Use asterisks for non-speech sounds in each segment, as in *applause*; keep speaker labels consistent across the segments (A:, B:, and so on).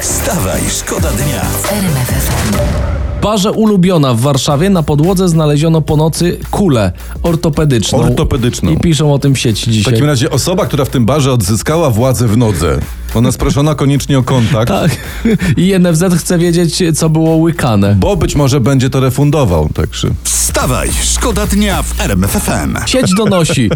A: Wstawaj, szkoda dnia.
B: Parze ulubiona w Warszawie na podłodze znaleziono po nocy kulę ortopedyczną.
C: Ortopedyczną.
B: I piszą o tym w sieci
C: W
B: dzisiaj.
C: takim razie osoba, która w tym barze odzyskała władzę w nodze. Ona sproszono koniecznie o kontakt,
B: Tak. I NFZ chce wiedzieć, co było łykane.
C: bo być może będzie to refundował. tak Także.
A: Wstawaj, szkoda dnia w RMFFM.
B: Sieć donosi.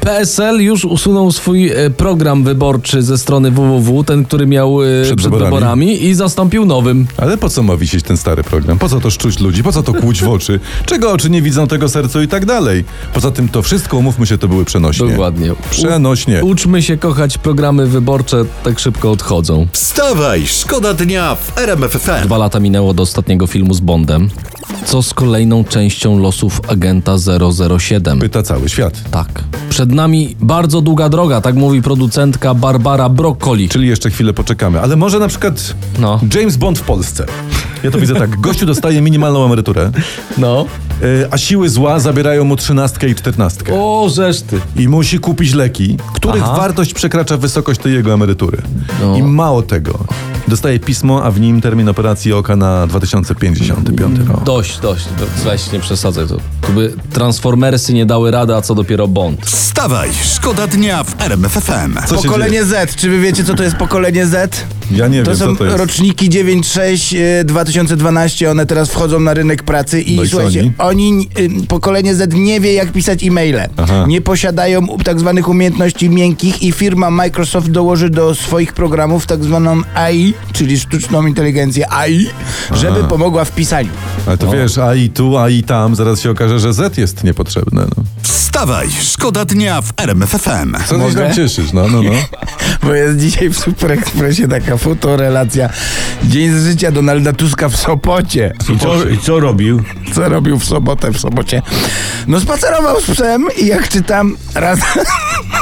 B: PSL już usunął swój e, program wyborczy ze strony www, ten, który miał e, przed,
C: wyborami.
B: wyborami i zastąpił nowym.
C: Ale po co ma wisieć ten stary program? Po co to szczuć ludzi? Po co to kłuć w oczy? Czego oczy nie widzą, tego sercu i tak dalej. Poza tym to wszystko, umówmy się, to były przenośnie.
B: Dokładnie. U-
C: Przenośnie.
B: Uczmy się kochać, programy wyborcze tak szybko odchodzą.
A: Wstawaj, szkoda dnia w RMFFM.
B: Dwa lata minęło do ostatniego filmu z Bondem. Co z kolejną częścią losów agenta 007?
C: Pyta cały świat.
B: Tak. Przed nami bardzo długa droga, tak mówi producentka Barbara Broccoli.
C: Czyli jeszcze chwilę poczekamy. Ale może na przykład
B: No.
C: James Bond w Polsce. Ja to widzę tak. Gościu dostaje minimalną emeryturę,
B: No.
C: yy, a siły zła zabierają mu trzynastkę i czternastkę.
B: O, żeszty.
C: I musi kupić leki, których
B: Aha.
C: wartość przekracza wysokość tej jego emerytury.
B: No.
C: I mało tego. Dostaje pismo, a w nim termin operacji oka na 2055 rok.
B: Dość, dość. Weź, nie przesadzaj to. Tu by Transformersy nie dały rady, a co dopiero Bond.
A: Wstawaj, szkoda dnia w RMFFM.
C: Co się dzieje?
D: Pokolenie Z. Czy wy wiecie, co to jest pokolenie Z?
C: Ja nie
D: To
C: wiem,
D: są
C: co to jest.
D: roczniki 96 y, 2012, one teraz wchodzą na rynek pracy i
C: No i co
D: słuchajcie, oni, y, pokolenie Z nie wie jak pisać e-maile.
C: Aha.
D: Nie posiadają u- tak zwanych umiejętności miękkich i firma Microsoft dołoży do swoich programów tak zwaną AI, czyli sztuczną inteligencję AI, żeby pomogła w pisaniu.
C: Ale to wiesz, a i tu, a i tam, zaraz się okaże, że Z jest niepotrzebne. No.
A: Wstawaj, szkoda dnia w RMFFM.
C: Co ty się tam
D: Mogę?
C: cieszysz? No, no, no.
D: Bo jest dzisiaj w Super Expressie taka fotorelacja. Dzień z życia Donalda Tuska w Sopocie.
E: I co, I co robił?
D: Co robił w sobotę, w sobocie? No spacerował z psem i jak czytam, raz,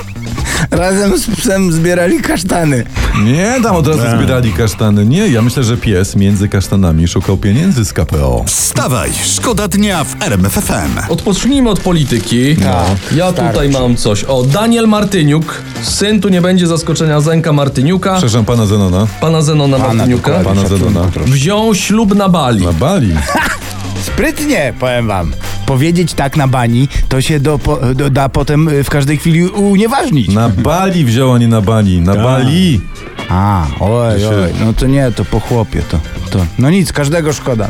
D: *laughs* razem z psem zbierali kasztany.
C: Nie, tam od razu zbierali kasztany. Nie, ja myślę, że pies między kasztanami szukał pieniędzy z KPO.
A: Wstawaj, szkoda dnia w RMFFM.
B: Odpocznijmy od polityki.
D: Tak,
B: ja
D: starczy.
B: tutaj mam coś. O, Daniel Martyniuk. Syn tu nie będzie zaskoczenia Zenka Martyniuka.
C: Przepraszam pana Zenona.
B: Pana Zenona Martyniuka.
C: Pana Zenona.
B: Wziął ślub na Bali.
C: Na Bali.
D: Sprytnie, powiem wam. Powiedzieć tak na bani, to się do, po, do, da potem y, w każdej chwili unieważnić.
C: Na Bali wzięła, nie na Bali. Na Bali.
D: A, oj,
C: się-
D: oj, no to nie, to po chłopie, to, to. No nic, każdego szkoda.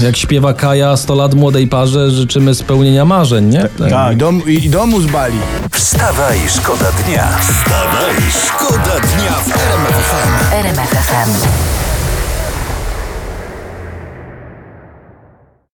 B: E, Jak śpiewa Kaja 100 lat młodej parze, życzymy spełnienia marzeń, nie? Tak.
D: I, dom, I domu zbali.
A: Wstawaj, szkoda dnia. Wstawaj,